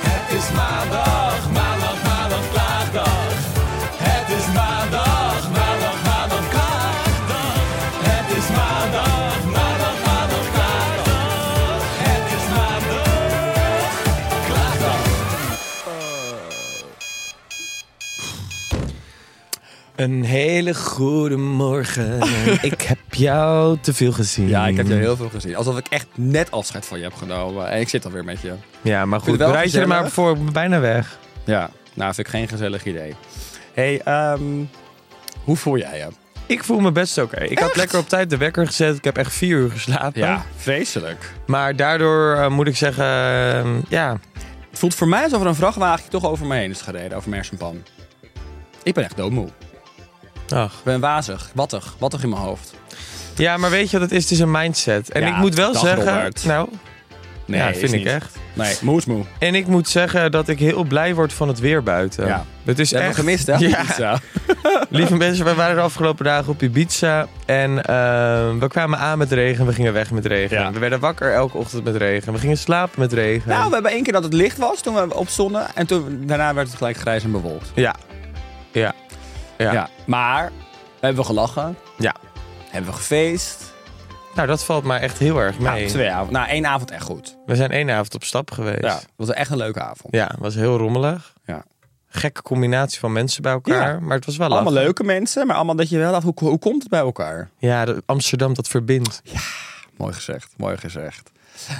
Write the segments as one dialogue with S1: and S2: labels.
S1: Het is maandag, maandag, maandag, klaagdag. Het is maandag, maandag, maandag, klaagdag. Het is maandag, maandag, maandag, klaagdag. Het is maandag, klaagdag.
S2: Een hele goede morgen. ik heb jou te veel gezien.
S3: Ja, ik heb je heel veel gezien. Alsof ik echt net afscheid van je heb genomen. En ik zit alweer met je.
S2: Ja, maar
S3: Vind
S2: goed,
S3: je wel
S2: bereid je er
S3: gezellig?
S2: maar voor bijna weg.
S3: Ja, nou vind ik geen gezellig idee. hey, ehm, hoe voel jij je?
S2: Ik voel me best oké. Ik had lekker op tijd de wekker gezet. Ik heb echt vier uur geslapen.
S3: vreselijk.
S2: Maar daardoor eh, moet ik zeggen, eh, ja,
S3: Het voelt voor mij alsof er een vrachtwagen toch over me heen is gereden. Over mijn hersenpan. Ik ben echt doodmoe.
S2: ach.
S3: Ik ben wazig, wattig, wattig in mijn hoofd.
S2: Ja, maar weet je wat het is? Het is een mindset. En
S3: Ja,
S2: ik moet wel
S3: dag,
S2: zeggen,
S3: Robert.
S2: nou,
S3: Nee,
S2: ja,
S3: is
S2: vind ik
S3: niet.
S2: echt.
S3: Nee, moe is moe.
S2: En ik moet zeggen dat ik heel blij word van het weer buiten.
S3: Ja.
S2: Het is
S3: Je hebt
S2: echt...
S3: me gemist, hè?
S2: Ja.
S3: Pizza.
S2: Lieve mensen, wij waren de afgelopen dagen op Ibiza. En ehm, we kwamen aan met regen, we gingen weg met regen.
S3: Ja.
S2: We werden wakker elke ochtend met regen. We gingen slapen met regen.
S3: Nou, we hebben één keer dat het licht was toen we opstonden. En toen, daarna werd het gelijk grijs en bewolkt.
S2: Ja. Ja. Ja.
S3: Maar hebben we gelachen.
S2: Ja.
S3: Hebben we gefeest.
S2: Nou, dat valt mij echt heel erg mee.
S3: Nou, twee avonden. Nou, één avond echt goed.
S2: we zijn één avond op stap geweest.
S3: Ja, het was echt een leuke avond.
S2: Ja, was heel rommelig.
S3: Ja.
S2: Gekke combinatie van mensen bij elkaar.
S3: Ja.
S2: Maar het was wel
S3: Allemaal
S2: lachen.
S3: leuke mensen, maar allemaal dat je wel af hoe, hoe komt het bij elkaar?
S2: Ja, de- Amsterdam dat verbindt.
S3: Mooi gezegd, mooi gezegd.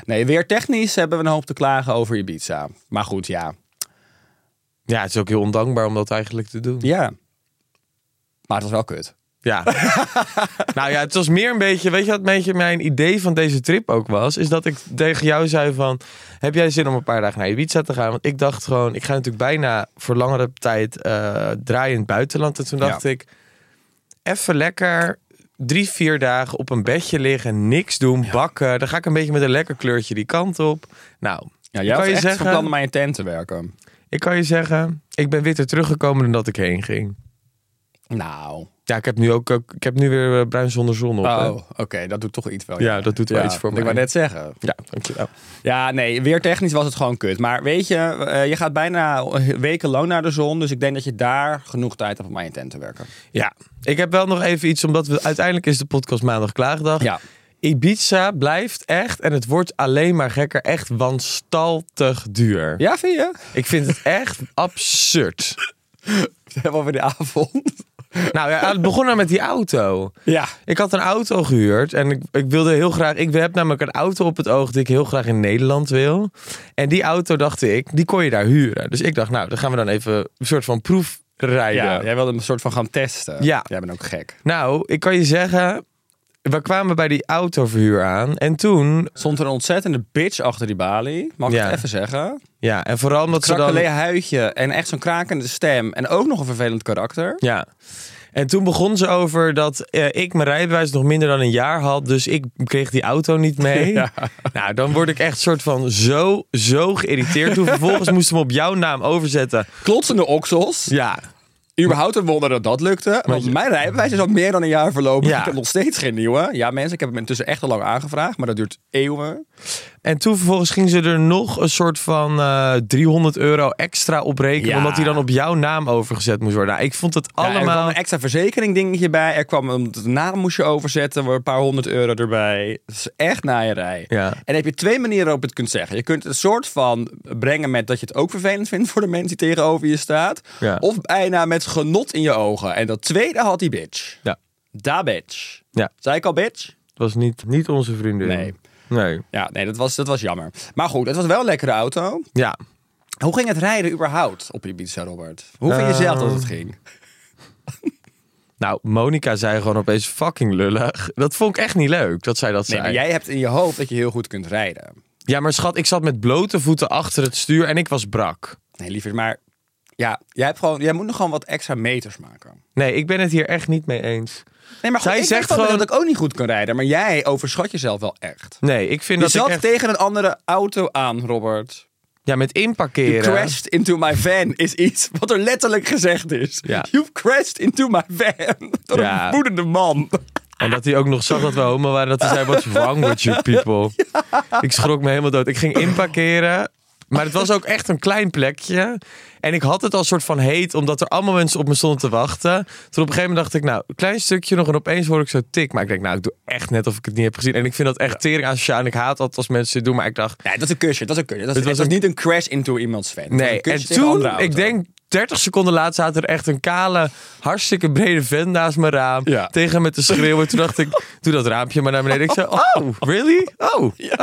S3: Nee, weer technisch hebben we een hoop te klagen over Ibiza. Maar goed, ja.
S2: Ja, het is ook heel ondankbaar om dat eigenlijk te doen.
S3: Ja. Maar het was wel kut.
S2: Ja. nou ja, het was meer een beetje, weet je wat een beetje mijn idee van deze trip ook was? Is dat ik tegen jou zei van, heb jij zin om een paar dagen naar Ibiza te gaan? Want ik dacht gewoon, ik ga natuurlijk bijna voor langere tijd eh draaien in het buitenland. En toen dacht
S3: Ja.
S2: ik, even lekker drie, vier dagen op een bedje liggen, niks doen, bakken. Dan ga ik een beetje met een lekker kleurtje die kant op. Nou,
S3: Ja,
S2: ik
S3: jij was
S2: kan je
S3: echt van plan
S2: zeggen,
S3: om aan je tent te werken.
S2: ik kan je zeggen, ik ben witter teruggekomen dan dat ik heen ging.
S3: Nou.
S2: Ja, ik heb nu ook, ook- ik heb nu weer eh, bruin zonder zon op. hè.
S3: Oh, oké, dat doet toch iets wel.
S2: Ja, dat doet wel iets voor
S3: ik
S2: mij.
S3: Ik wou net zeggen.
S2: Ja, dankjewel.
S3: Ja, nee, weer technisch was het gewoon kut. Maar weet je, eh, je gaat bijna wekenlang naar de zon. Dus ik denk dat je daar genoeg tijd hebt om aan je tent te werken.
S2: Ja, ik heb wel nog even iets, omdat we, uiteindelijk is de podcast maandag klaagdag.
S3: Ja.
S2: Ibiza blijft echt, en het wordt alleen maar gekker, echt wanstaltig duur.
S3: Ja, vind je?
S2: Ik vind het echt absurd.
S3: Helemaal voor de avond.
S2: Nou ja, het begon nou met die auto.
S3: Ja.
S2: Ik had een auto gehuurd en ik, ik wilde heel graag. Ik heb namelijk een auto op het oog die ik heel graag in Nederland wil. En die auto, dacht ik, die kon je daar huren. Dus ik dacht, nou, dan gaan we dan even een soort van proef rijden.
S3: ja. Jij wilde een soort van gaan testen.
S2: Ja.
S3: Jij bent ook gek.
S2: Nou, ik kan je zeggen, we kwamen bij die autoverhuur aan. En toen,
S3: Stond er een ontzettende bitch achter die balie. Mag ik
S2: Ja.
S3: het even zeggen?
S2: ja, en vooral omdat ze
S3: Krakkelee
S2: dan...
S3: huidje en echt zo'n krakende stem. En ook nog een vervelend karakter.
S2: Ja. En toen begon ze over dat eh, ik mijn rijbewijs nog minder dan een jaar had. Dus ik kreeg die auto niet mee. Nou, dan word ik echt soort van zo, zo geïrriteerd. Toen vervolgens moesten we hem op jouw naam overzetten.
S3: Klotsende oksels.
S2: Ja.
S3: Überhaupt een wonder dat dat lukte. Want
S2: je-
S3: mijn rijbewijs is al meer dan een jaar verlopen.
S2: Ja.
S3: Ik heb nog steeds geen nieuwe. Ja, mensen, ik heb hem intussen echt al lang aangevraagd. Maar dat duurt eeuwen.
S2: En toen vervolgens ging ze er nog een soort van eh 300 euro extra op rekenen.
S3: Ja.
S2: Omdat die dan op jouw naam overgezet moest worden. Nou, ik vond het
S3: Ja, er kwam
S2: allemaal...
S3: een extra verzekering dingetje bij. Er kwam een de naam moest je overzetten. Een paar honderd euro erbij. Dat is echt naaierij.
S2: Ja.
S3: En dan heb je twee manieren waarop je het kunt zeggen. Je kunt het een soort van brengen met dat je het ook vervelend vindt voor de mensen die tegenover je staat.
S2: Ja.
S3: Of bijna met genot in je ogen. En dat tweede had die bitch.
S2: Ja,
S3: Da bitch.
S2: Ja.
S3: Zei ik al bitch?
S2: het was niet, niet onze vriendin.
S3: Nee.
S2: Nee.
S3: Ja, nee, dat was, dat was jammer. Maar goed, het was wel een lekkere auto.
S2: Ja.
S3: Hoe ging het rijden überhaupt op Ibiza, Robert? Hoe vind je
S2: Ehm,
S3: zelf dat het ging?
S2: Nou, Monica zei gewoon opeens fucking lullig. Dat vond ik echt niet leuk, dat zij dat
S3: Nee,
S2: zei.
S3: maar jij hebt in je hoofd dat je heel goed kunt rijden.
S2: Ja, maar schat, ik zat met blote voeten achter het stuur en ik was brak.
S3: Nee, liever, maar ja, jij, hebt gewoon, jij moet nog gewoon wat extra meters maken.
S2: Nee, ik ben het hier echt niet mee eens.
S3: Nee, maar goed,
S2: Zij
S3: ik
S2: zegt
S3: zegt gewoon
S2: gewoon-
S3: dat ik ook niet goed kan rijden, maar jij overschat jezelf wel echt.
S2: Nee, ik vind
S3: Je
S2: dat ik
S3: zat
S2: echt...
S3: tegen een andere auto aan, Robert.
S2: Ja, met
S3: You
S2: inparkeren.
S3: crashed into my van is iets wat er letterlijk gezegd is.
S2: Ja.
S3: You've crashed into my van. Door
S2: Ja.
S3: een woedende man.
S2: En dat hij ook nog zag dat we homo waren. Dat hij zei, what's wrong with you people? Ik schrok me helemaal dood. Ik ging inparkeren. Maar het was ook echt een klein plekje. En ik had het al soort van heet, omdat er allemaal mensen op me stonden te wachten. Toen op een gegeven moment dacht ik, nou, een klein stukje nog. En opeens hoor ik zo tik. Maar ik denk, nou, ik doe echt net of ik het niet heb gezien. En ik vind dat echt tering asociaal. En ik haat dat als mensen het doen. Maar ik dacht,
S3: Nee, dat is een kusje. Dat is een kusje. Dat is,
S2: Het
S3: het
S2: was
S3: was,
S2: een-
S3: niet een crash into iemands van. Het was
S2: Nee,
S3: een kusje
S2: en
S3: tegen een
S2: toen,
S3: andere auto.
S2: ik denk 30 seconden later zaten er echt een kale, hartstikke brede vent naast mijn raam.
S3: Ja.
S2: Tegen hem met te schreeuwen. Toen dacht ik, doe dat raampje maar naar beneden. Ik zei, oh, really? Oh,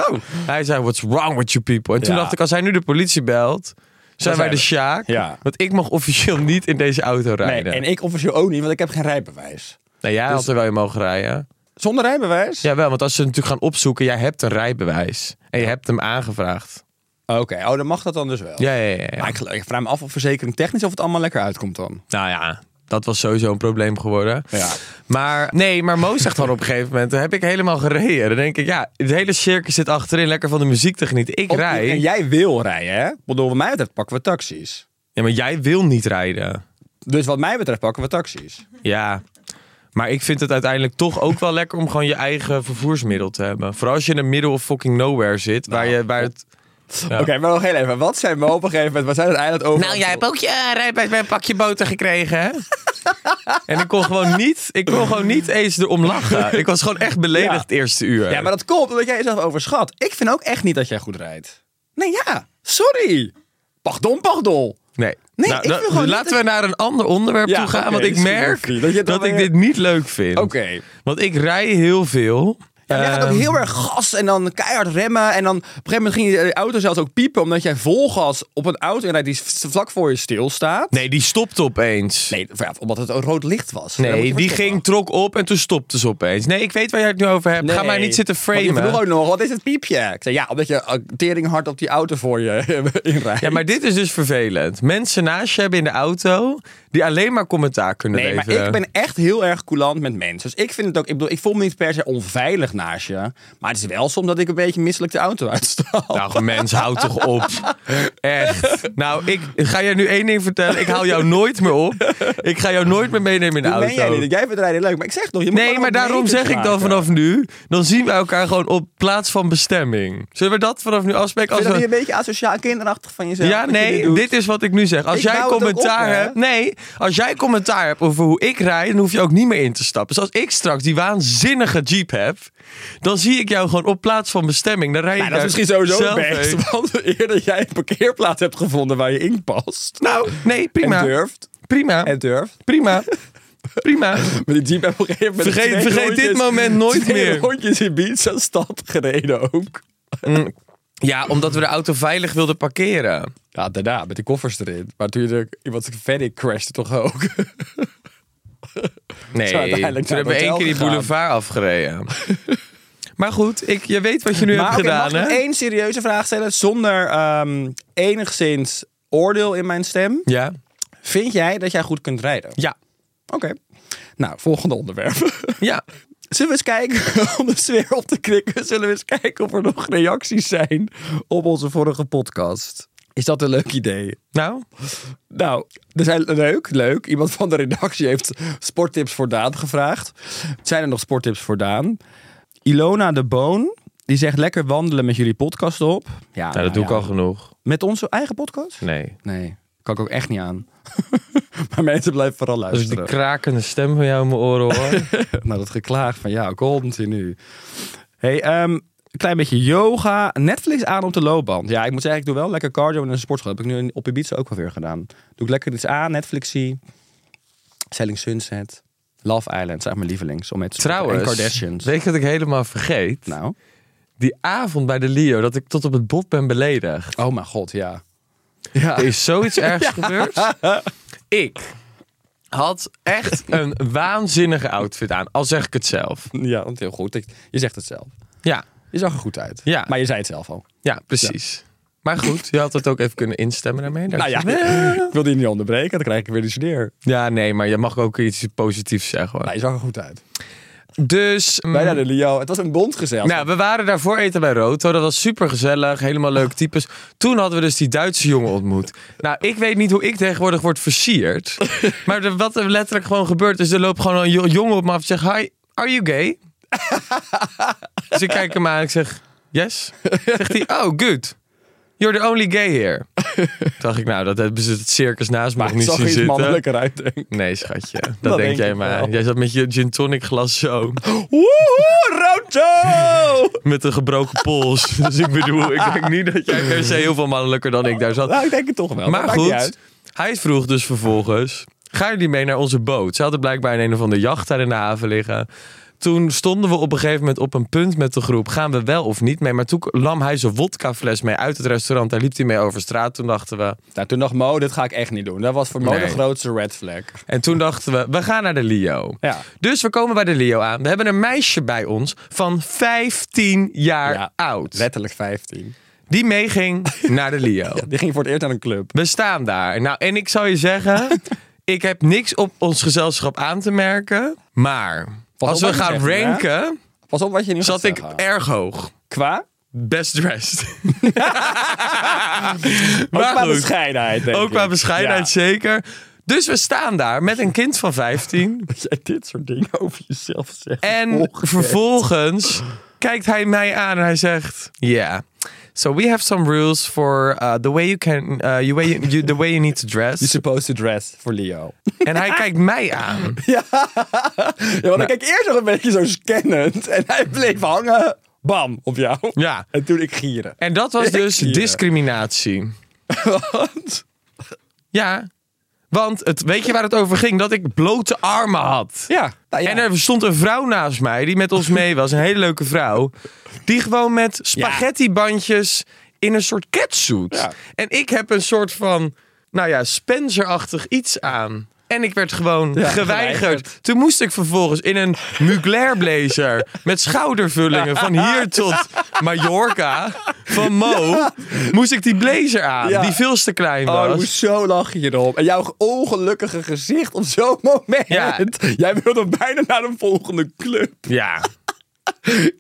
S2: oh. Hij zei, what's wrong with you people? En toen
S3: Ja.
S2: dacht ik, als hij nu de politie belt, zijn wij
S3: zijn
S2: de
S3: we.
S2: Sjaak.
S3: Ja.
S2: Want ik mag officieel niet in deze auto
S3: Nee,
S2: rijden.
S3: en ik officieel ook niet, want ik heb geen rijbewijs.
S2: Nou, jij had er wel in mogen rijden.
S3: Zonder rijbewijs?
S2: Jawel, want als ze natuurlijk gaan opzoeken, jij hebt een rijbewijs. En je hebt hem aangevraagd.
S3: Oké, oh, dan mag dat dan dus wel.
S2: Ja, ja, ja. ja.
S3: Maar ik, geloof- ik vraag me af of verzekering technisch of het allemaal lekker uitkomt dan.
S2: Nou ja, dat was sowieso een probleem geworden.
S3: Ja.
S2: Maar nee, maar Mo zegt dan op een gegeven moment: heb ik helemaal gereden. Dan denk ik, ja, het hele circus zit achterin, lekker van de muziek te genieten. Ik
S3: Op-
S2: rij.
S3: En jij wil rijden, hè? Ik Bedoel, wat mij betreft pakken we taxis.
S2: Ja, maar jij wil niet rijden.
S3: Dus wat mij betreft pakken we taxis.
S2: Ja. Maar ik vind het uiteindelijk toch ook wel lekker om gewoon je eigen vervoersmiddel te hebben. Vooral als je in de middle of fucking nowhere zit. Waar je, waar het...
S3: Oké, maar nog heel even. Wat zijn we op een gegeven moment? Wat zijn het eiland over?
S2: Nou, ook je eh, rijbewijs bij een pakje boter gekregen, hè? en ik kon gewoon niet, ik kon gewoon niet eens erom lachen. Ik was gewoon echt beledigd
S3: Ja.
S2: het eerste uur.
S3: Ja, maar dat komt omdat jij jezelf overschat. Ik vind ook echt niet dat jij goed rijdt. Nee, ja. Sorry. Pardon, pardon.
S2: Nee.
S3: Nee,
S2: Nou,
S3: ik
S2: da-
S3: wil gewoon
S2: laten
S3: niet-
S2: we naar een ander onderwerp
S3: Ja,
S2: toe gaan.
S3: oké,
S2: want ik
S3: is goed,
S2: merk
S3: Rocky,
S2: dat,
S3: dat je het dan
S2: ik
S3: weer-
S2: dit niet leuk vind.
S3: Oké.
S2: Want ik rij heel veel.
S3: Ja, jij gaat ook
S2: Ehm,
S3: heel erg gas en dan keihard remmen. En dan op een gegeven moment ging je auto zelfs ook piepen. Omdat jij vol gas op een auto rijdt die vlak voor je stilstaat.
S2: Nee, die stopte opeens.
S3: Nee, ja, omdat het een rood licht was. Dan moet je
S2: Nee,
S3: maar
S2: die
S3: stoppen.
S2: ging, trok op en toen stopte ze opeens. Nee, ik weet waar jij het nu over hebt. Ga
S3: Nee.
S2: mij niet zitten
S3: Want die vroeg
S2: framen.
S3: ook nog, wat is het piepje? Ik zei, ja, omdat je eh, tering hard op die auto voor je inrijdt.
S2: Ja, maar dit is dus vervelend. Mensen naast je hebben in de auto die alleen maar commentaar kunnen
S3: Nee, maar
S2: leveren.
S3: ik ben echt heel erg coulant met mensen. Dus ik vind het ook, ik bedoel, ik voel me niet per se onveilig naast je. Maar het is wel soms dat ik een beetje misselijk de auto uitstap.
S2: Nou, mens, houd toch op. Echt. Nou, ik ga jij nu één ding vertellen. Ik haal jou nooit meer op. Ik ga jou nooit meer meenemen in de
S3: dat
S2: auto.
S3: ben jij niet. Jij vindt rijden leuk, maar ik zeg toch, je moet
S2: Nee,
S3: gewoon
S2: maar
S3: wat
S2: daarom
S3: meters
S2: zeg ik dan
S3: maken.
S2: vanaf nu. Dan zien we elkaar gewoon op plaats van bestemming. Zullen we dat vanaf nu afspreken?
S3: Vind je
S2: Als
S3: dat niet
S2: we...
S3: een beetje asociaal en kinderachtig van jezelf?
S2: Ja,
S3: dat je dit
S2: nee,
S3: doet?
S2: dit is wat ik nu zeg. Als
S3: Ik
S2: jij
S3: bouw het ook
S2: commentaar
S3: op, hè?
S2: hebt. Nee, als jij commentaar hebt over hoe ik rijd, dan hoef je ook niet meer in te stappen. Dus als ik straks die waanzinnige Jeep heb, dan zie ik jou gewoon op plaats van bestemming. Dan rij je
S3: Nou, dat is misschien sowieso het best.
S2: heen.
S3: Want eerder jij een parkeerplaats hebt gevonden waar je in past.
S2: Nou, nee, prima.
S3: En durft.
S2: Prima.
S3: En durft.
S2: Prima. Prima.
S3: Met die jeep heb ik op een gegeven moment
S2: Vergeet-
S3: twee
S2: vergeet dit moment nooit
S3: twee
S2: meer.
S3: rondjes in Ibiza stad gereden ook.
S2: Ja, omdat we de auto veilig wilden parkeren.
S3: Ja, daarna, met de koffers erin. Maar toen je er- iemand verder crashte toch ook.
S2: Nee,
S3: Zou
S2: toen
S3: uiteindelijk naar
S2: hebben we
S3: het
S2: één
S3: hotel
S2: keer die
S3: gegaan.
S2: boulevard afgereden. maar goed, ik, je weet wat je nu hebt
S3: oké,
S2: gedaan,
S3: mag ik
S2: hè?
S3: nog één serieuze vraag stellen? Zonder ehm, enigszins oordeel in mijn stem.
S2: Ja.
S3: Vind jij dat jij goed kunt rijden?
S2: Ja.
S3: Oké. Nou, volgende onderwerp.
S2: Ja.
S3: Zullen we eens kijken, om de sfeer op te krikken, zullen we eens kijken of er nog reacties zijn op onze vorige podcast. Is dat een leuk idee?
S2: Nou,
S3: Nou, er zijn, leuk, leuk. Iemand van de redactie heeft sporttips voor Daan gevraagd. Zijn er nog sporttips voor Daan? Ilona de Boon, die zegt lekker wandelen met jullie podcast op. Ah, Ja,
S2: nou, dat doe ik al genoeg.
S3: Met onze eigen podcast?
S2: Nee.
S3: Nee, kan ik ook echt niet aan. maar mensen blijven vooral
S2: Als ik die
S3: luisteren.
S2: krakende stem van jou in mijn oren hoor.
S3: Nou, dat geklaag van ja, komt hij nu? Hey, ehm, een klein beetje yoga. Netflix aan op de loopband. Ja, ik moet zeggen, ik doe wel lekker cardio in een sportschool. Heb ik nu in- op Ibiza ook wel weer gedaan. Doe ik lekker iets aan, Netflix zie. Selling Sunset. Love Island, zijn echt mijn lievelings. Om mee te sporten.
S2: Trouwens,
S3: En Kardashians.
S2: weet je dat ik helemaal vergeet?
S3: Nou,
S2: Die avond bij de Leo, dat ik tot op het bot ben beledigd.
S3: oh mijn god, ja. Ja,
S2: Er is zoiets ergs gebeurd. Ik had echt een waanzinnige outfit aan, al zeg ik het zelf.
S3: ja dat is heel goed. Ik- Je zegt het zelf.
S2: Ja,
S3: Je zag er goed uit.
S2: Ja.
S3: Maar je zei het zelf al.
S2: ja precies. Maar goed, je had het ook even kunnen instemmen daarmee.
S3: Nou ja,
S2: dus-
S3: ik wilde je niet onderbreken, dan krijg ik weer de sneer.
S2: Ja, nee, maar je mag ook iets positiefs zeggen.
S3: Maar
S2: Hoor.
S3: je zag er goed uit.
S2: Dus... mm,
S3: Bijna de Leo. Het was een bondgezelschap.
S2: Nou, we waren daarvoor eten bij Roto. Dat was super gezellig, helemaal leuke types. Toen hadden we dus die Duitse jongen ontmoet. Nou, ik weet niet hoe ik tegenwoordig word versierd. Maar de- wat er letterlijk gewoon gebeurt, is er loopt gewoon een jo- jongen op me af en zegt: Hi, are you gay? dus ik kijk hem aan en ik zeg: Yes. Zegt hij: Oh, good. You're the only gay here. Toen dacht ik, nou, dat hebben ze het circus naast me
S3: maar
S2: nog niet
S3: het zag
S2: zien
S3: er iets
S2: zitten.
S3: mannelijker uit, denk ik.
S2: Nee, schatje. Dat,
S3: Dat
S2: denk
S3: denk
S2: jij
S3: ik
S2: maar.
S3: wel.
S2: Jij zat met je gin tonic glas zo.
S3: Woehoe, Roto!
S2: met een gebroken pols. dus ik bedoel, ik denk niet dat jij per se heel veel mannelijker dan ik daar zat.
S3: nou, ik denk het toch wel.
S2: Maar
S3: dat maakt niet
S2: goed,
S3: uit.
S2: hij vroeg dus vervolgens: gaan jullie mee naar onze boot? Ze hadden blijkbaar in een of andere jacht daar in de haven liggen. Toen stonden we op een gegeven moment op een punt met de groep. Gaan we wel of niet mee? Maar toen nam hij zijn wodkafles mee uit het restaurant. Daar liep hij mee over straat. Toen dachten we...
S3: Nou, toen dacht Mo, dit ga ik echt niet doen. Dat was voor Mo
S2: Nee.
S3: de grootste red flag.
S2: En toen dachten we, we gaan naar de Leo.
S3: Ja.
S2: Dus we komen bij de Leo aan. We hebben een meisje bij ons van 15 jaar
S3: Ja,
S2: oud.
S3: Letterlijk 15.
S2: Die meeging naar de Leo.
S3: Die ging voor het eerst naar een club.
S2: We staan daar. Nou, en ik zou je zeggen, ik heb niks op ons gezelschap aan te merken. Maar
S3: Pas
S2: als
S3: op
S2: we
S3: wat je
S2: gaan
S3: zegt, hè?
S2: ranken,
S3: Pas op wat je nu
S2: zat
S3: gaat
S2: ik
S3: zeggen.
S2: erg hoog.
S3: Qua?
S2: Best dressed.
S3: Ook
S2: Maar
S3: qua
S2: goed.
S3: bescheidenheid, denk
S2: Ook
S3: ik.
S2: qua bescheidenheid
S3: Ja.
S2: zeker. Dus we staan daar met een kind van 15.
S3: Dat jij dit soort dingen over jezelf zegt.
S2: En
S3: Ongekend.
S2: vervolgens kijkt hij mij aan en hij zegt: Yeah. So we have some rules for uh, the way you can, uh, you way you, the way you need to
S3: You're
S2: dress.
S3: supposed to dress voor Leo.
S2: En hij kijkt mij aan.
S3: Ja, want
S2: Nou.
S3: ik keek eerst nog een beetje zo scannend. En hij bleef hangen. Bam, op jou.
S2: Ja.
S3: En toen ik gieren.
S2: En dat was dus
S3: Jeetje.
S2: discriminatie. Ja, want het, weet je waar het over ging? Dat ik blote armen had.
S3: Ja. Nou ja.
S2: En er stond een vrouw naast mij die met ons mee was, een hele leuke vrouw, die gewoon met spaghettibandjes in een soort catsuit.
S3: Ja.
S2: En ik heb een soort van, nou ja, Spencer-achtig iets aan. En ik werd gewoon
S3: Ja,
S2: geweigerd.
S3: geweigerd.
S2: Toen moest ik vervolgens in een Mugler blazer met schoudervullingen van hier tot Mallorca van Mo, moest ik die blazer aan,
S3: Ja.
S2: die veel te klein
S3: Oh,
S2: was.
S3: ik moest zo lachen hierop. En jouw ongelukkige gezicht op zo'n moment.
S2: Ja.
S3: Jij wilde bijna naar een volgende club.
S2: Ja.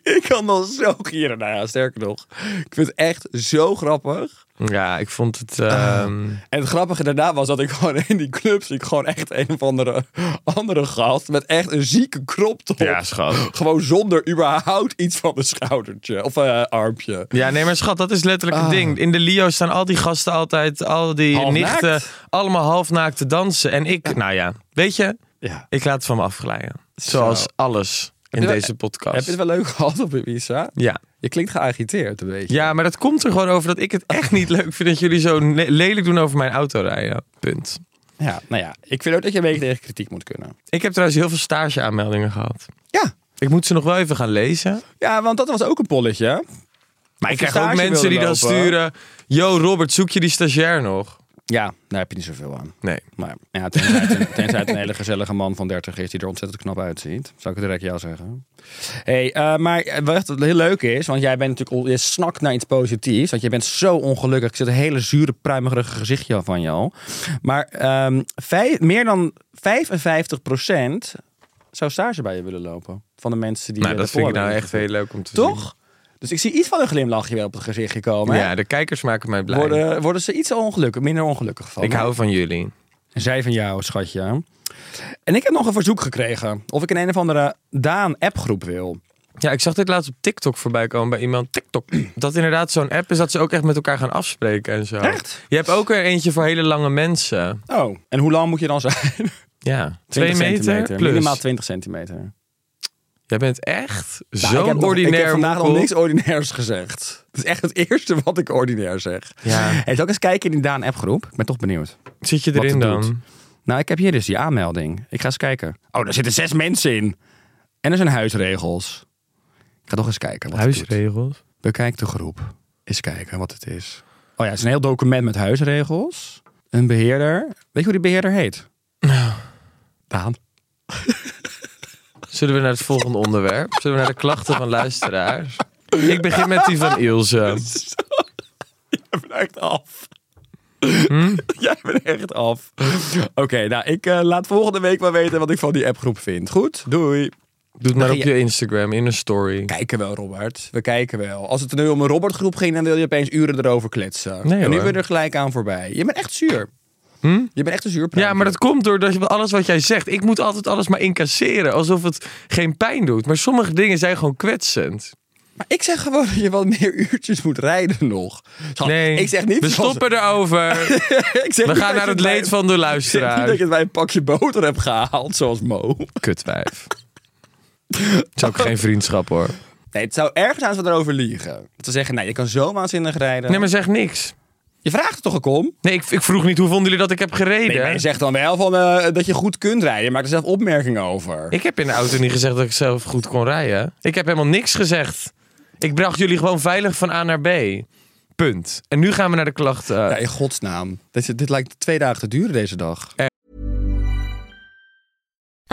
S3: Ik kan dan zo gieren. Nou ja, sterker nog. Ik vind het echt zo grappig.
S2: ja, ik vond het... ehm,
S3: En het grappige daarna was dat ik gewoon in die club zie ik gewoon echt een of andere, andere gast met echt een zieke crop top.
S2: Ja, schat.
S3: Gewoon zonder überhaupt iets van een schoudertje of een armpje.
S2: Ja, nee, maar schat, dat is letterlijk
S3: Ah.
S2: het ding. In de Lio staan al die gasten altijd, al die
S3: Halfnaakt?
S2: nichten, allemaal halfnaakt te dansen. En ik, nou ja, weet je,
S3: Ja.
S2: ik laat het van me afglijden. Zoals alles in
S3: je wel-
S2: deze podcast.
S3: Heb je het wel leuk gehad op Ibiza?
S2: Ja.
S3: Je klinkt geagiteerd een beetje.
S2: ja, maar dat komt er gewoon over dat ik het echt niet leuk vind dat jullie zo le- lelijk doen over mijn autorijden. Punt.
S3: ja. Nou ja, ik vind ook dat je een beetje tegen kritiek moet kunnen.
S2: Ik heb trouwens heel veel stageaanmeldingen gehad.
S3: Ja,
S2: Ik moet ze nog wel even gaan lezen.
S3: Ja, want dat was ook een polletje.
S2: Maar ik
S3: je
S2: krijg ook
S3: stage
S2: mensen die
S3: wilde
S2: dan
S3: lopen.
S2: sturen. Yo, Robert, zoek je die stagiair nog?
S3: Ja, daar heb je niet zoveel aan.
S2: Nee. Nou,
S3: Maar ja, tenzij het, een, tenzij het een hele gezellige man van 30 is die er ontzettend knap uitziet. Zou ik het direct jou zeggen. hey, eh, maar wat heel leuk is, want jij bent natuurlijk al, je snakt naar iets positiefs. Want je bent zo ongelukkig. Ik zit een hele zure, pruimerige gezichtje van je al. Maar ehm, vijf- meer dan 55% zou stage bij je willen lopen. Van de mensen die
S2: Nou,
S3: je
S2: dat
S3: ervoor
S2: vind ik nou
S3: hebben
S2: echt heel leuk om te zien.
S3: Toch? Dus Dus ik zie iets van een glimlachje wel op het gezichtje komen.
S2: Ja, de kijkers maken mij blij.
S3: worden, worden ze iets ongelukkig, minder ongelukkig van.
S2: Ik hou van jullie.
S3: En Zij van jou, schatje. En ik heb nog een verzoek gekregen of ik in een of andere Daan-appgroep wil.
S2: Ja, ik zag dit laatst op TikTok voorbij komen bij iemand. TikTok. Dat inderdaad zo'n app is dat ze ook echt met elkaar gaan afspreken en zo.
S3: Echt?
S2: Je hebt ook er eentje voor hele lange mensen.
S3: Oh, en hoe lang moet je dan zijn?
S2: Ja,
S3: 20
S2: twee meter
S3: centimeter,
S2: plus.
S3: Minimaal 20 centimeter.
S2: Jij bent echt
S3: Nou, ik, heb
S2: zo'n
S3: nog-
S2: ordinair
S3: ik heb vandaag nog
S2: mokkel.
S3: niks ordinairs gezegd. Het is echt het eerste wat ik ordinair zeg.
S2: Ja.
S3: Hey, zal ik eens kijken in die Daan-appgroep? Ik ben toch benieuwd.
S2: Zit je
S3: wat
S2: erin
S3: het doet.
S2: dan?
S3: Nou, ik heb hier dus die aanmelding. Ik ga eens kijken. Oh, daar zitten zes mensen in. En er zijn huisregels. Ik ga toch eens kijken wat het doet.
S2: Huisregels.
S3: Bekijk de groep. Eens kijken wat het is. Oh ja, het is een heel document met huisregels. Een beheerder. Weet je hoe die beheerder heet?
S2: Nou.
S3: Daan.
S2: Zullen we naar het volgende onderwerp? Zullen we naar de klachten van luisteraars? Ik begin met die van Ilse.
S3: Jij bent echt af.
S2: Hm?
S3: Jij bent echt af. Oké, nou, ik eh, laat volgende week wel weten wat ik van die appgroep vind. Goed, doei.
S2: Doe het maar op
S3: je-
S2: je Instagram in een story.
S3: Kijken wel, Robert. We kijken wel. Als het nu om een Robert-groep ging, dan wil je opeens uren erover kletsen.
S2: Nee,
S3: en nu
S2: hoor. Hm?
S3: ben je er gelijk aan voorbij. Je bent echt zuur. Je bent echt een zuur.
S2: Ja, maar dat komt doordat je alles wat jij zegt. Ik moet altijd alles maar incasseren. Alsof het geen pijn doet. Maar sommige dingen zijn gewoon kwetsend.
S3: Maar ik zeg gewoon dat je wat meer uurtjes moet rijden nog. Schat,
S2: Nee,
S3: ik zeg niet
S2: we
S3: zoals-
S2: stoppen erover.
S3: ik zeg
S2: We
S3: niet dat
S2: gaan naar
S3: je
S2: het
S3: bij-
S2: leed van de
S3: Ik zeg niet
S2: luisteraar.
S3: dat je het bij een pakje boter hebt gehaald, zoals Mo.
S2: Kutwijf. Het is ook geen vriendschap hoor.
S3: Nee, het zou ergens aan zijn erover liegen. Te zeggen, nee, je kan zo waanzinnig rijden.
S2: Nee, maar zeg niks.
S3: Je vraagt het toch ook om?
S2: Nee, ik, ik vroeg niet hoe vonden jullie dat ik heb gereden.
S3: Nee, maar je zegt dan wel van, eh, dat je goed kunt rijden. Je maakt er zelf opmerkingen over.
S2: Ik heb in de auto niet gezegd dat ik zelf goed kon rijden. Ik heb helemaal niks gezegd. Ik bracht jullie gewoon veilig van A naar B. Punt. En nu gaan we naar de klachten.
S3: Ja, in godsnaam. Dit, dit lijkt twee dagen te duren deze dag.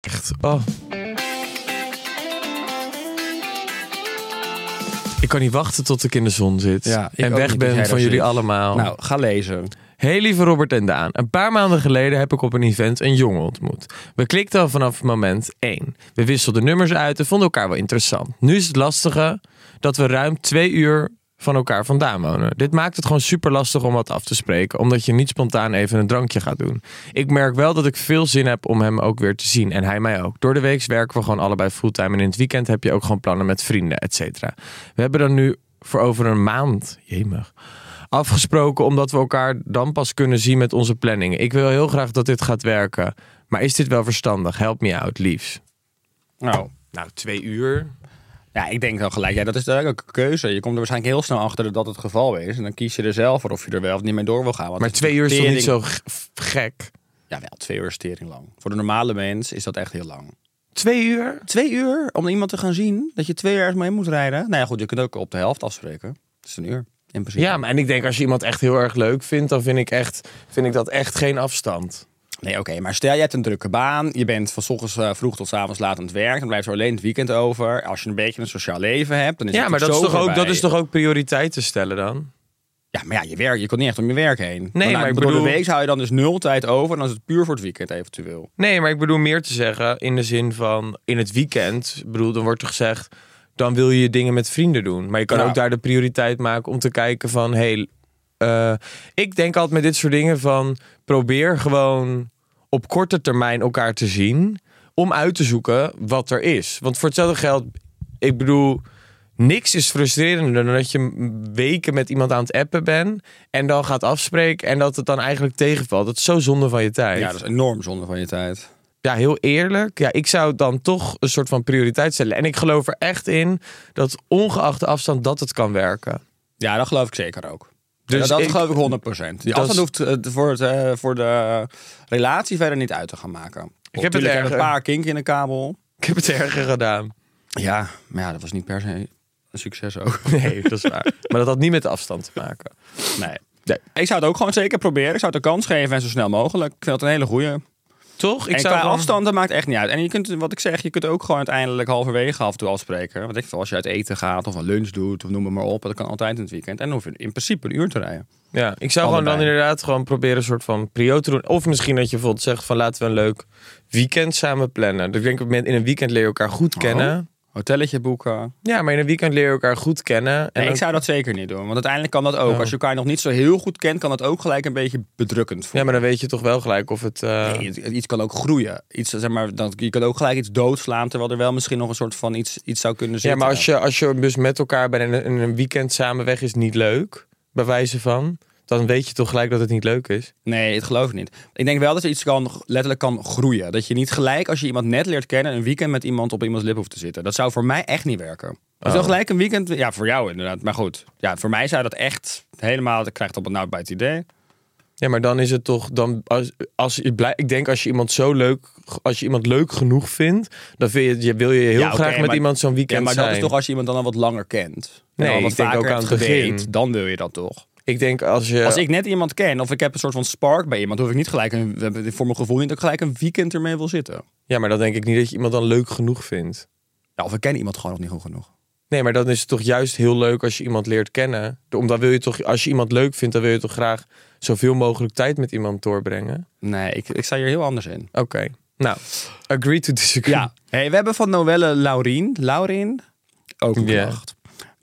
S2: Echt. Oh. Ik kan niet wachten tot ik in de zon zit.
S3: Ja, ik
S2: en
S3: ook
S2: weg
S3: niet, dat jij
S2: ben van
S3: daar
S2: jullie
S3: zit.
S2: allemaal.
S3: Nou, ga lezen.
S2: Hey lieve Robert en Daan, een paar maanden geleden heb ik op een event een jongen ontmoet. We klikten al vanaf moment 1. We wisselden nummers uit en vonden elkaar wel interessant. Nu is het lastige dat we ruim twee uur van elkaar vandaan wonen. Dit maakt het gewoon super lastig om wat af te spreken, omdat je niet spontaan even een drankje gaat doen. Ik merk wel dat ik veel zin heb om hem ook weer te zien en hij mij ook. Door de week werken we gewoon allebei fulltime en in het weekend heb je ook gewoon plannen met vrienden, et cetera. We hebben dan nu voor over een maand, jemig, afgesproken omdat we elkaar dan pas kunnen zien met onze planningen. Ik wil heel graag dat dit gaat werken. Maar is dit wel verstandig? Help me out, liefs.
S3: Nou,
S2: Nou, twee uur.
S3: Ja, ik denk wel gelijk. Ja, dat is eigenlijk ook een keuze. Je komt er waarschijnlijk heel snel achter dat het geval is. En dan kies je er zelf voor of je er wel of niet mee door wil gaan. Want
S2: Maar
S3: het is
S2: twee uur is toch
S3: tering-
S2: niet zo g- f- gek?
S3: Ja, wel, twee uur is tering lang. Voor de normale mens is dat echt heel lang.
S2: Twee uur?
S3: Twee uur om iemand te gaan zien dat je twee uur ergens mee moet rijden. Nou ja, goed, je kunt ook op de helft afspreken. Dat is een uur, in principe.
S2: Ja, maar en ik denk als je iemand echt heel erg leuk vindt, dan vind ik, echt, vind ik dat echt geen afstand.
S3: Nee, oké, maar stel je hebt een drukke baan. Je bent van 's ochtends eh, vroeg tot 's avonds laat aan het werk. Dan blijft er alleen het weekend over. Als je een beetje een sociaal leven hebt, dan is
S2: Ja,
S3: het
S2: maar dat is,
S3: natuurlijk
S2: toch
S3: zo
S2: ook, dat
S3: voorbij.
S2: is toch ook prioriteiten stellen dan?
S3: Ja, maar ja, je, werk, je komt niet echt om je werk heen.
S2: maar
S3: na-
S2: ik
S3: door
S2: bedoel-
S3: de week hou je dan dus nul tijd over. En dan is het puur voor het weekend eventueel.
S2: Nee, maar ik bedoel meer te zeggen in de zin van in het weekend. Ik bedoel, dan wordt er gezegd, dan wil je je dingen met vrienden doen. Maar je kan
S3: Ja.
S2: ook daar de prioriteit maken om te kijken van, hey, eh, ik denk altijd met dit soort dingen van probeer gewoon op korte termijn elkaar te zien om uit te zoeken wat er is. Want voor hetzelfde geld, ik bedoel, niks is frustrerender dan dat je m- weken met iemand aan het appen bent en dan gaat afspreken en dat het dan eigenlijk tegenvalt. Dat is zo zonde van je tijd.
S3: Ja, dat is enorm zonde van je tijd.
S2: ja, heel eerlijk. Ja, ik zou dan toch een soort van prioriteit stellen. En ik geloof er echt in dat ongeacht de afstand dat het kan werken.
S3: Ja, dat geloof ik zeker ook.
S2: Dus
S3: Dus dat
S2: ik-
S3: geloof ik 100 procent. Die
S2: Dat
S3: afstand hoeft eh, voor, het, eh, voor de relatie verder niet uit te gaan maken. Ik
S2: heb het erger.
S3: een paar kinken in de kabel.
S2: Ik heb het erger gedaan.
S3: Ja, maar ja, dat was niet per se een succes ook.
S2: Nee, dat is waar. maar dat had niet met de afstand te maken.
S3: Nee. Ik zou het ook gewoon zeker proberen. Ik zou het een kans geven en zo snel mogelijk. Ik vind dat een hele goeie.
S2: Toch?
S3: en
S2: zou
S3: qua
S2: gewoon-
S3: afstand, dat maakt echt niet uit. En je kunt, wat ik zeg, je kunt ook gewoon uiteindelijk halverwege af en toe afspreken. Want ik vind, als je uit eten gaat of een lunch doet of noem het maar op. Dat kan altijd in het weekend. En dan hoef je in principe een uur te rijden.
S2: Ja, ik zou gewoon dan
S3: Allebei.
S2: inderdaad gewoon proberen een soort van prio te doen. Of misschien dat je bijvoorbeeld zegt van laten we een leuk weekend samen plannen. Dus ik denk op het moment- in een weekend leer je elkaar goed kennen.
S3: Oh. Hotelletje boeken.
S2: Ja, maar in een weekend leer je elkaar goed kennen. En
S3: Nee,
S2: dan-
S3: ik zou dat zeker niet doen. Want uiteindelijk kan dat ook. Als je elkaar nog niet zo heel goed kent, kan dat ook gelijk een beetje bedrukkend voelen.
S2: Ja, maar dan weet je toch wel gelijk of het... eh,
S3: Nee, het- het- iets kan ook groeien. Iets, zeg maar, dat, je kan ook gelijk iets doodslaan, terwijl er wel misschien nog een soort van iets, iets zou kunnen
S2: ja,
S3: zitten.
S2: maar als je, als je dus met elkaar bent en een- en een weekend samen weg is niet leuk, bij wijze van, dan weet je toch gelijk dat het niet leuk is.
S3: Nee, het geloof ik niet. Ik denk wel dat er iets kan, letterlijk kan groeien. Dat je niet gelijk, als je iemand net leert kennen, een weekend met iemand op iemands lip hoeft te zitten. Dat zou voor mij echt niet werken. Dus
S2: Oh.
S3: dan gelijk een weekend, ja, voor jou inderdaad. Maar goed, ja, voor mij zou dat echt helemaal, ik krijg het op het nou bij het idee.
S2: Ja, maar dan is het toch dan als, als je blij, ik denk als je iemand zo leuk, als je iemand leuk genoeg vindt, dan vind je, je wil je heel
S3: ja,
S2: graag
S3: oké,
S2: met
S3: maar-
S2: iemand zo'n weekend
S3: Ja, maar
S2: zijn.
S3: dat is toch als je iemand dan al wat langer kent. en
S2: Nee,
S3: al wat
S2: ik denk
S3: vaker
S2: ook aan
S3: hebt
S2: het begin.
S3: gedate, Dan wil je dat toch.
S2: Ik denk als je
S3: Als ik net iemand ken of ik heb een soort van spark bij iemand, hoef ik niet gelijk een, voor mijn gevoel niet dat ik gelijk een weekend ermee wil zitten.
S2: Ja, maar dan denk ik niet dat je iemand dan leuk genoeg vindt.
S3: Ja, of ik ken iemand gewoon nog niet goed genoeg.
S2: Nee, maar dan is het toch juist heel leuk als je iemand leert kennen. Omdat wil je toch, als je iemand leuk vindt, dan wil je toch graag zoveel mogelijk tijd met iemand doorbrengen.
S3: Nee, ik, ik sta hier heel anders in.
S2: Oké. Nou, agree to disagree.
S3: Ja, hey, we hebben van Noelle Laurien, Laurien ook een
S2: Ja.
S3: klacht.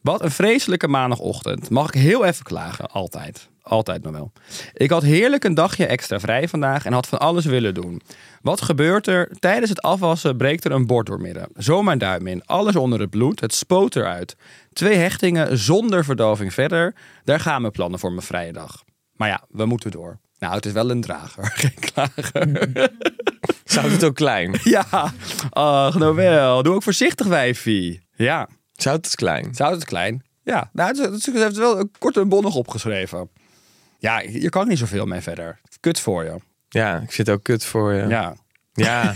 S3: Wat een vreselijke maandagochtend. Mag ik heel even klagen? Altijd. Altijd nog wel. Ik had heerlijk een dagje extra vrij vandaag en had van alles willen doen. Wat gebeurt er? Tijdens het afwassen breekt er een bord doormidden. Zo mijn duim in. Alles onder het bloed. Het spoot eruit. Twee hechtingen zonder verdoving verder. Daar gaan mijn plannen voor mijn vrije dag. Maar ja, we moeten door. Nou, het is wel een drager. Geen klager.
S2: Zou het ook klein?
S3: Ja, ach Noël, doe ook voorzichtig wijfie. Ja,
S2: Zou het klein?
S3: zou het klein? Ja, nou, het, is- het heeft wel een kort en bondig opgeschreven. Ja, je kan niet zoveel mee verder. Kut voor je.
S2: Ja, ik zit ook kut voor je.
S3: Ja.
S2: Ja.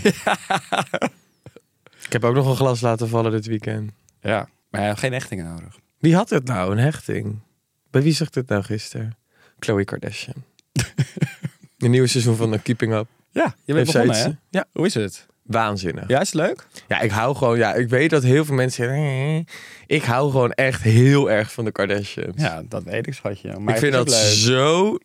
S2: ik heb ook nog een glas laten vallen dit weekend.
S3: Ja. Maar ja, geen hechtingen nodig.
S2: Wie had het nou, een hechting? Bij wie zag dit nou gisteren? Chloe Kardashian. De nieuwe seizoen van The Keeping Up.
S3: Ja, je bent
S2: Heeft zij
S3: begonnen,
S2: iets-
S3: hè?
S2: Ja.
S3: Hoe is het?
S2: Waanzinnig.
S3: Ja, is het leuk?
S2: Ja, ik hou gewoon, ja, ik weet dat heel veel mensen zeggen, "Eh." ik hou gewoon echt heel erg van de Kardashians.
S3: Ja, dat weet ik, schatje. Maar
S2: ik vind dat zo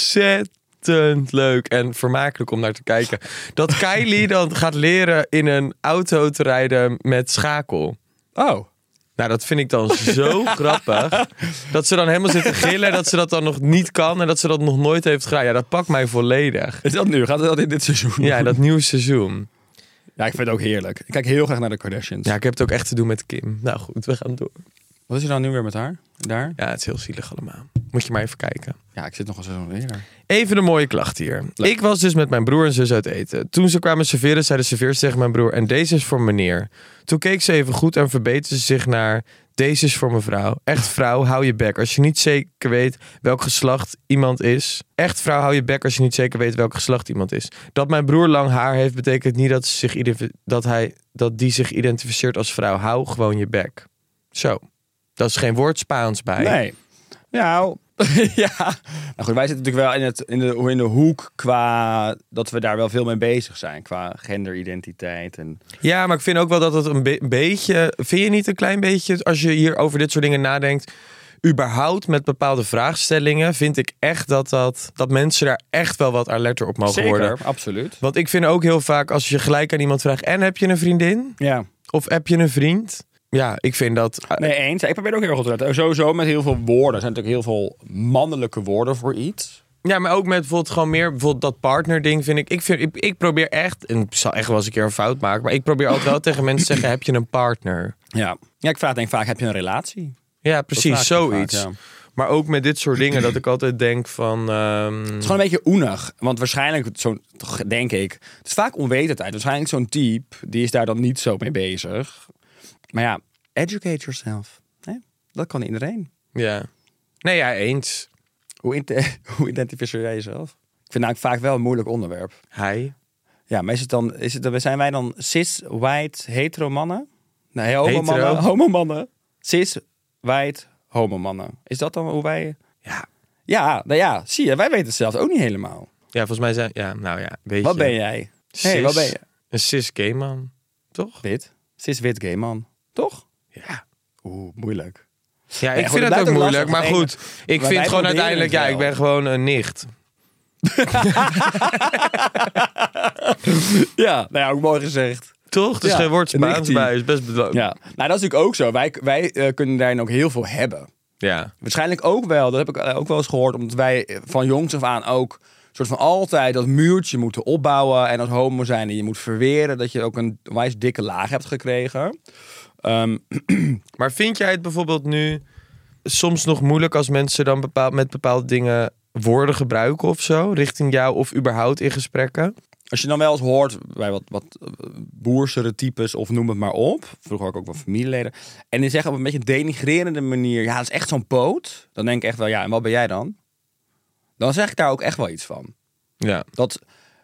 S2: ontzettend leuk en vermakelijk om naar te kijken. Dat Kylie dan gaat leren in een auto te rijden met schakel.
S3: Oh.
S2: Nou, dat vind ik dan zo grappig. Dat ze dan helemaal zit te gillen, dat ze dat dan nog niet kan en dat ze dat nog nooit heeft gedaan. Ja, dat pakt mij volledig.
S3: Is dat nu? Gaat het dat in dit seizoen?
S2: Ja, dat nieuwe seizoen.
S3: ja, ik vind het ook heerlijk. Ik kijk heel graag naar de Kardashians.
S2: Ja, ik heb het ook echt te doen met Kim. Nou goed, we gaan door.
S3: Wat is er dan nu weer met haar? Daar?
S2: Ja, het is heel zielig allemaal. Moet je maar even kijken.
S3: Ja, ik zit nog een seizoen weer.
S2: Even een mooie klacht hier. Ik was dus met mijn broer en zus uit eten. Toen ze kwamen serveren, zei de serveerster tegen mijn broer... en deze is voor meneer. Toen keek ze even goed en verbeterde ze zich naar... deze is voor mevrouw. Echt vrouw, hou je bek. Als je niet zeker weet welk geslacht iemand is... echt vrouw, hou je bek als je niet zeker weet welk geslacht iemand is. Dat mijn broer lang haar heeft, betekent niet dat, ze zich identif- dat, hij, dat die zich identificeert als vrouw. Hou gewoon je bek. Zo. Dat is geen woord Spaans bij.
S3: Nee. Nou, ja. Nou goed, wij zitten natuurlijk wel in, het, in, de, in de hoek qua dat we daar wel veel mee bezig zijn. Qua genderidentiteit. En...
S2: Ja, maar ik vind ook wel dat het een be- beetje. Vind je niet een klein beetje, als je hier over dit soort dingen nadenkt. überhaupt met bepaalde vraagstellingen. vind ik echt dat, dat, dat mensen daar echt wel wat alerter op mogen worden.
S3: absoluut.
S2: Want ik vind ook heel vaak als je gelijk aan iemand vraagt. en heb je een vriendin?
S3: Ja.
S2: Of heb je een vriend? Ja, ik vind dat. eh,
S3: Nee, eens. Ik probeer er ook heel goed te letten. Sowieso met heel veel woorden. Er zijn natuurlijk heel veel mannelijke woorden voor iets.
S2: Ja, maar ook met bijvoorbeeld gewoon meer bijvoorbeeld dat partnerding vind ik. Ik, vind, ik, ik probeer echt, en ik zal echt wel eens een keer een fout maken, maar ik probeer altijd wel tegen mensen te zeggen: heb je een partner?
S3: Ja. Ja, ik vraag denk vaak, heb je een relatie?
S2: Ja,
S3: vraag
S2: precies,
S3: ik
S2: zoiets.
S3: vaak, ja.
S2: Maar ook met dit soort dingen dat ik altijd denk van... ehm,
S3: Het is gewoon een beetje oenig. Want waarschijnlijk, zo'n, toch, denk ik, het is vaak onwetendheid. Waarschijnlijk zo'n type, die is daar dan niet zo mee bezig. Maar ja, educate yourself. Hè? Dat kan iedereen.
S2: ja. Nee, ja, eens.
S3: Hoe, inte- hoe identificeer jij jezelf? Ik vind het vaak wel een moeilijk onderwerp.
S2: Hij.
S3: Ja, maar is het dan, is het, dan- zijn wij dan cis, white, hetero mannen? Nee, homomannen.
S2: Hetero.
S3: Homomannen. Cis, wijd, homomannen. Is dat dan hoe wij...
S2: Ja.
S3: Ja, nou ja, zie je. Wij weten het zelf ook niet helemaal.
S2: Ja, volgens mij zijn... Ja, nou ja, weet je.
S3: Wat ben jij? hey,
S2: Cis.
S3: wat ben je?
S2: Een cis gay man, toch?
S3: Wit. Cis, wit, gay man. Toch?
S2: Ja.
S3: Oeh, moeilijk.
S2: Ja, ik
S3: goed,
S2: vind
S3: het
S2: het
S3: blijft
S2: ook
S3: ook
S2: moeilijk,
S3: lastig,
S2: maar
S3: want
S2: goed.
S3: één- maar
S2: Ik
S3: wij
S2: vind gewoon
S3: proberen
S2: uiteindelijk,
S3: het
S2: ja,
S3: wel.
S2: ik ben gewoon een nicht.
S3: Ja, nou ja, ook mooi gezegd.
S2: Toch? Dus
S3: Ja,
S2: geen woord
S3: een
S2: Spaans
S3: nichtie.
S2: bij is best bedoeld.
S3: Ja, nou dat is natuurlijk ook zo. Wij, wij eh, kunnen daarin ook heel veel hebben.
S2: ja.
S3: Waarschijnlijk ook wel, dat heb ik eh, ook wel eens gehoord, omdat wij eh, van jongs af aan ook soort van altijd dat muurtje moeten opbouwen en als homo zijn en je moet verweren dat je ook een wijs dikke laag hebt gekregen. Ehm,
S2: Maar vind jij het bijvoorbeeld nu soms nog moeilijk als mensen dan bepaald, met bepaalde dingen woorden gebruiken of zo? Richting jou of überhaupt in gesprekken?
S3: als je dan wel eens hoort bij wat, wat eh, boersere types of noem het maar op, vroeger had ik ook wel familieleden, en die zeggen op een beetje denigrerende manier, ja dat is echt zo'n poot, dan denk ik echt wel, ja en wat ben jij dan? Dan zeg ik daar ook echt wel iets van.
S2: Ja.
S3: Dat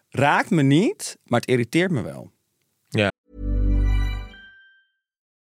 S3: raakt me niet, maar het irriteert me wel.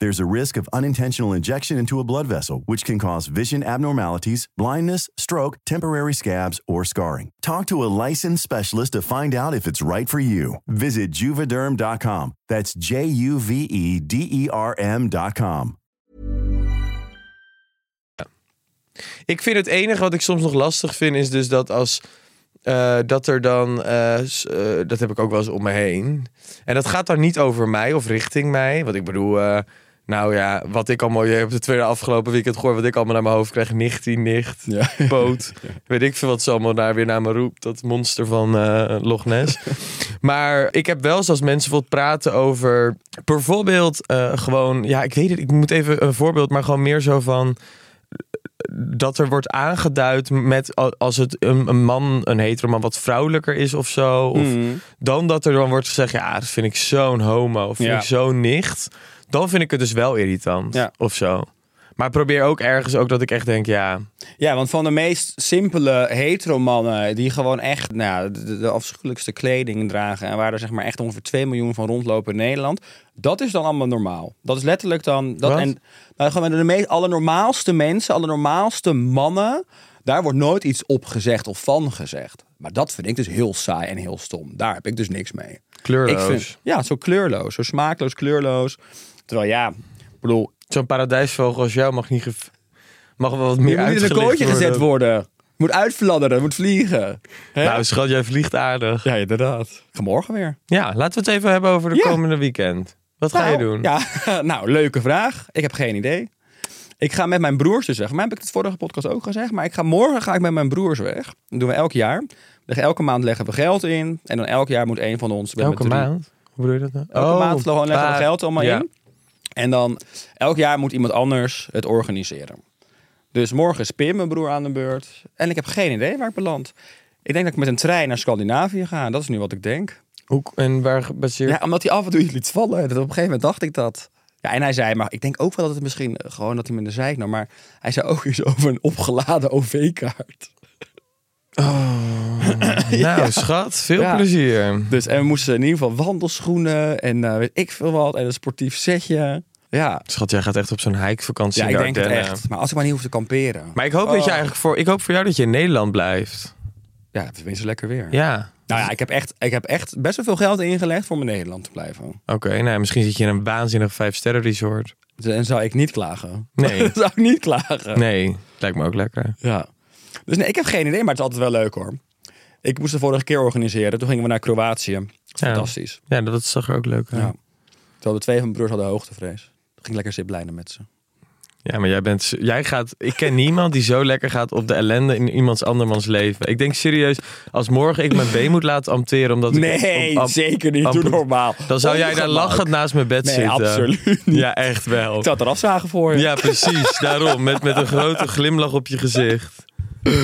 S4: There's a risk of unintentional injection into a blood vessel, which can cause vision abnormalities, blindness, stroke, temporary scabs, or scarring. Talk to a licensed specialist to find out if it's right for you. Visit juvederm.com. That's J U V E D E R M.com.
S2: Ik vind het enige wat ik soms nog lastig vind is dus dat als... eh, dat er dan, eh, s- eh, dat heb ik ook wel eens om me heen. En dat gaat dan niet over mij of richting mij. Want ik bedoel, eh, nou ja, wat ik allemaal, je hebt het tweede afgelopen weekend gehoord, wat ik allemaal naar mijn hoofd kreeg. Nichtie, nicht,
S3: Ja.
S2: boot. Weet ik veel wat ze allemaal daar weer naar me roept. Dat monster van eh Loch Ness. maar ik heb wel eens als mensen bijvoorbeeld praten over bijvoorbeeld eh, gewoon, ja, ik weet het, ik moet even een voorbeeld, maar gewoon meer zo van dat er wordt aangeduid met a- als het een, een man, een hetero man, wat vrouwelijker is of zo. Of
S3: Hmm.
S2: Dan dat er dan wordt gezegd, ja, dat vind ik zo'n homo, of vind
S3: Ja.
S2: ik zo'n nicht. Dan vind ik het dus wel irritant
S3: Ja.
S2: of zo. Maar probeer ook ergens ook dat ik echt denk, ja,
S3: Ja, want van de meest simpele heteromannen, die gewoon echt nou, ja, de, de afschuwelijkste kleding dragen en waar er zeg maar echt ongeveer 2 miljoen van rondlopen in Nederland, dat is dan allemaal normaal. Dat is letterlijk dan. Dat,
S2: Wat?
S3: en nou, gewoon de meest allernormaalste mensen, allernormaalste mannen, daar wordt nooit iets op gezegd of van gezegd. Maar dat vind ik dus heel saai en heel stom. Daar heb ik dus niks mee.
S2: Kleurloos.
S3: Ik vind, ja, zo kleurloos, zo smaakloos, kleurloos. Terwijl ja, ik bedoel,
S2: zo'n paradijsvogel als jou mag niet ge- mag wel wat meer
S3: je moet niet in een
S2: uitgelicht
S3: kooitje gezet worden. Je Moet uitfladderen, moet vliegen. Hè?
S2: Nou, schat, jij vliegt aardig.
S3: Ja, inderdaad. Morgen weer.
S2: Ja, laten we het even hebben over de
S3: Ja.
S2: komende weekend. Wat ga je
S3: Nou,
S2: doen?
S3: Ja, nou, leuke vraag. Ik heb geen idee. Ik ga met mijn broers dus weg. Maar heb ik het vorige podcast ook gezegd. Maar ik ga, morgen ga ik met mijn broers weg. Dat doen we elk jaar. Dus Elke maand leggen we geld in. En dan elk jaar moet een van ons... we hebben
S2: Elke
S3: drie-
S2: maand? Hoe bedoel je dat nou?
S3: Elke maand gewoon leggen we
S2: waar.
S3: geld allemaal
S2: Ja.
S3: in. En dan elk jaar moet iemand anders het organiseren. Dus morgen is Pim, mijn broer, aan de beurt. En ik heb geen idee waar ik beland. Ik denk dat ik met een trein naar Scandinavië ga. Dat is nu wat ik denk.
S2: Hoe, en waar gebaseerd?
S3: Ja, omdat hij af en toe iets liet vallen. Dat op een gegeven moment dacht ik dat. Ja, en hij zei, maar ik denk ook wel dat het misschien eh, gewoon dat hij me in de zeik nam. Maar hij zei ook iets over een opgeladen OV-kaart.
S2: Nou, schat, veel
S3: Ja.
S2: plezier.
S3: Dus en we moesten in ieder geval wandelschoenen en eh, weet ik veel wat. En een sportief setje. Ja,
S2: Schat, jij gaat echt op zo'n hikevakantie
S3: ja ik
S2: naar
S3: denk het
S2: Ardennen.
S3: echt. Oh. Maar als ik maar niet hoef te kamperen.
S2: eh, Maar ik hoop dat je eigenlijk voor, ik hoop voor jou dat je in Nederland blijft.
S3: Ja, het is minstens lekker weer.
S2: Ja.
S3: Nou ja, ik heb, echt, ik heb echt best wel veel geld ingelegd voor mijn Nederland te blijven.
S2: Oké, nou, ja, misschien zit je in een waanzinnig vijfsterren resort.
S3: Dus- En zou ik niet klagen.
S2: Nee.
S3: zou ik niet klagen.
S2: Nee, lijkt me ook lekker.
S3: Ja. Dus nee, ik heb geen idee, maar het is altijd wel leuk hoor. Ik moest de vorige keer organiseren. Toen gingen we naar Kroatië. Fantastisch.
S2: Ja, dat zag er ook leuk uit.
S3: Ja. Terwijl de twee van mijn broers hadden hoogtevrees. Toen ging ik lekker zitten blijden met ze.
S2: Dus Ja, maar jij bent. z- Jij gaat. Ik ken niemand die zo lekker gaat op de ellende in iemands andermans leven. Ik denk serieus, als morgen ik mijn been moet laten ampteren. Omdat ik
S3: Nee,
S2: am- am-
S3: zeker niet.
S2: amper-
S3: Doe normaal.
S2: Dan zou jij daar
S3: Ongemak.
S2: lachend naast mijn bed
S3: Nee,
S2: zitten.
S3: absoluut niet.
S2: Ja, echt wel.
S3: Ik zou het eraf zagen voor je.
S2: Ja, precies. Daarom. Met, met een grote glimlach op je gezicht.
S3: nee,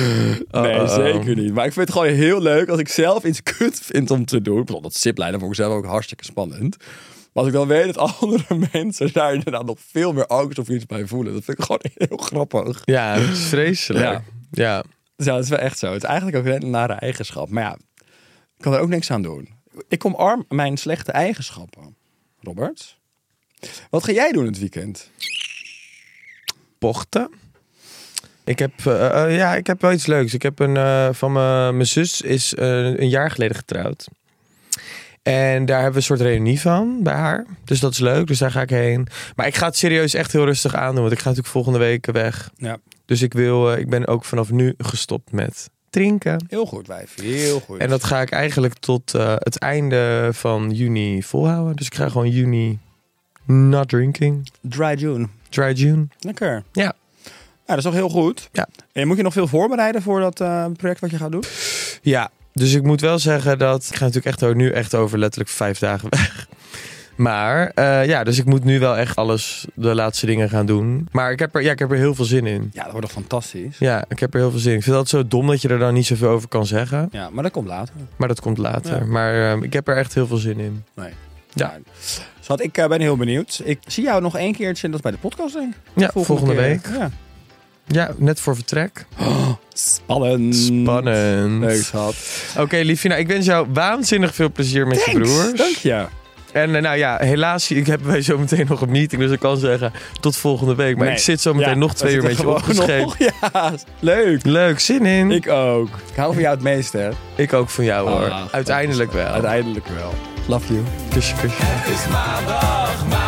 S2: Uh-oh.
S3: zeker niet. Maar ik vind het gewoon heel leuk als ik zelf iets kut vind om te doen. Ik bedoel, dat ziplijnen vond ik zelf ook hartstikke spannend. Maar als ik dan weet dat andere mensen daar inderdaad nog veel meer angst of iets bij voelen. Dat vind ik gewoon heel grappig.
S2: Ja, dat is vreselijk.
S3: Ja.
S2: Ja.
S3: Dus ja, dat is wel echt zo. Het is eigenlijk ook net een nare eigenschap. Maar ja, ik kan er ook niks aan doen. Ik omarm mijn slechte eigenschappen. Robert, wat ga jij doen het weekend?
S2: Pochten. Ik heb, eh, eh, ja, ik heb wel iets leuks. Ik heb een, eh, van mijn mijn zus is eh, een jaar geleden getrouwd. En daar hebben we een soort reunie van bij haar. Dus dat is leuk. Dus daar ga ik heen. Maar ik ga het serieus echt heel rustig aandoen. Want ik ga natuurlijk volgende week weg.
S3: Ja.
S2: Dus ik, wil, eh, ik ben ook vanaf nu gestopt met drinken.
S3: Heel goed, wijf. Heel goed.
S2: En dat ga ik eigenlijk tot eh, het einde van juni volhouden. Dus ik ga gewoon juni not drinking.
S3: Dry June.
S2: Dry June.
S3: Lekker.
S2: Ja.
S3: Nou, dat is toch heel goed.
S2: Ja.
S3: En moet je nog veel voorbereiden voor dat eh, project wat je gaat doen?
S2: Ja, dus ik moet wel zeggen dat... Ik ga natuurlijk echt ook nu echt over letterlijk vijf dagen weg. Maar eh, ja, dus ik moet nu wel echt alles, de laatste dingen gaan doen. Maar ik heb er, ja, ik heb er heel veel zin in.
S3: Ja, dat wordt toch fantastisch?
S2: Ja, ik heb er heel veel zin in. Ik vind dat zo dom dat je er dan niet zoveel over kan zeggen.
S3: Ja, maar dat komt later.
S2: Maar dat komt later.
S3: Ja.
S2: Maar eh, ik heb er echt heel veel zin in.
S3: Nee.
S2: Ja.
S3: Nou, Schat, ik eh, ben heel benieuwd. Ik zie jou nog één keertje, en dat is bij de podcast denk ik.
S2: Ja, volgende
S3: keer.
S2: week.
S3: Ja.
S2: Ja, net voor vertrek.
S3: Spannend.
S2: Spannend.
S3: Leuk, schat.
S2: Oké, Liefina, ik wens jou waanzinnig veel plezier met je broers.
S3: Dank je.
S2: En eh, nou ja, helaas, ik heb wij zo meteen nog een meeting, dus ik kan zeggen tot volgende week. Maar
S3: Nee.
S2: ik zit zo meteen
S3: Ja,
S2: nog twee
S3: we
S2: uur met je
S3: zitten gewoon
S2: opgeschreven.
S3: nog. Ja, leuk.
S2: Leuk, zin in. Ik,
S3: Ik ook. Ik hou van jou het meest, hè.
S2: ook van jou hoor.
S3: Ah,
S2: Ah, Uiteindelijk wel.
S3: Uiteindelijk wel. Love you.
S2: Kusje, kusje.
S1: Het is maandag, maandag.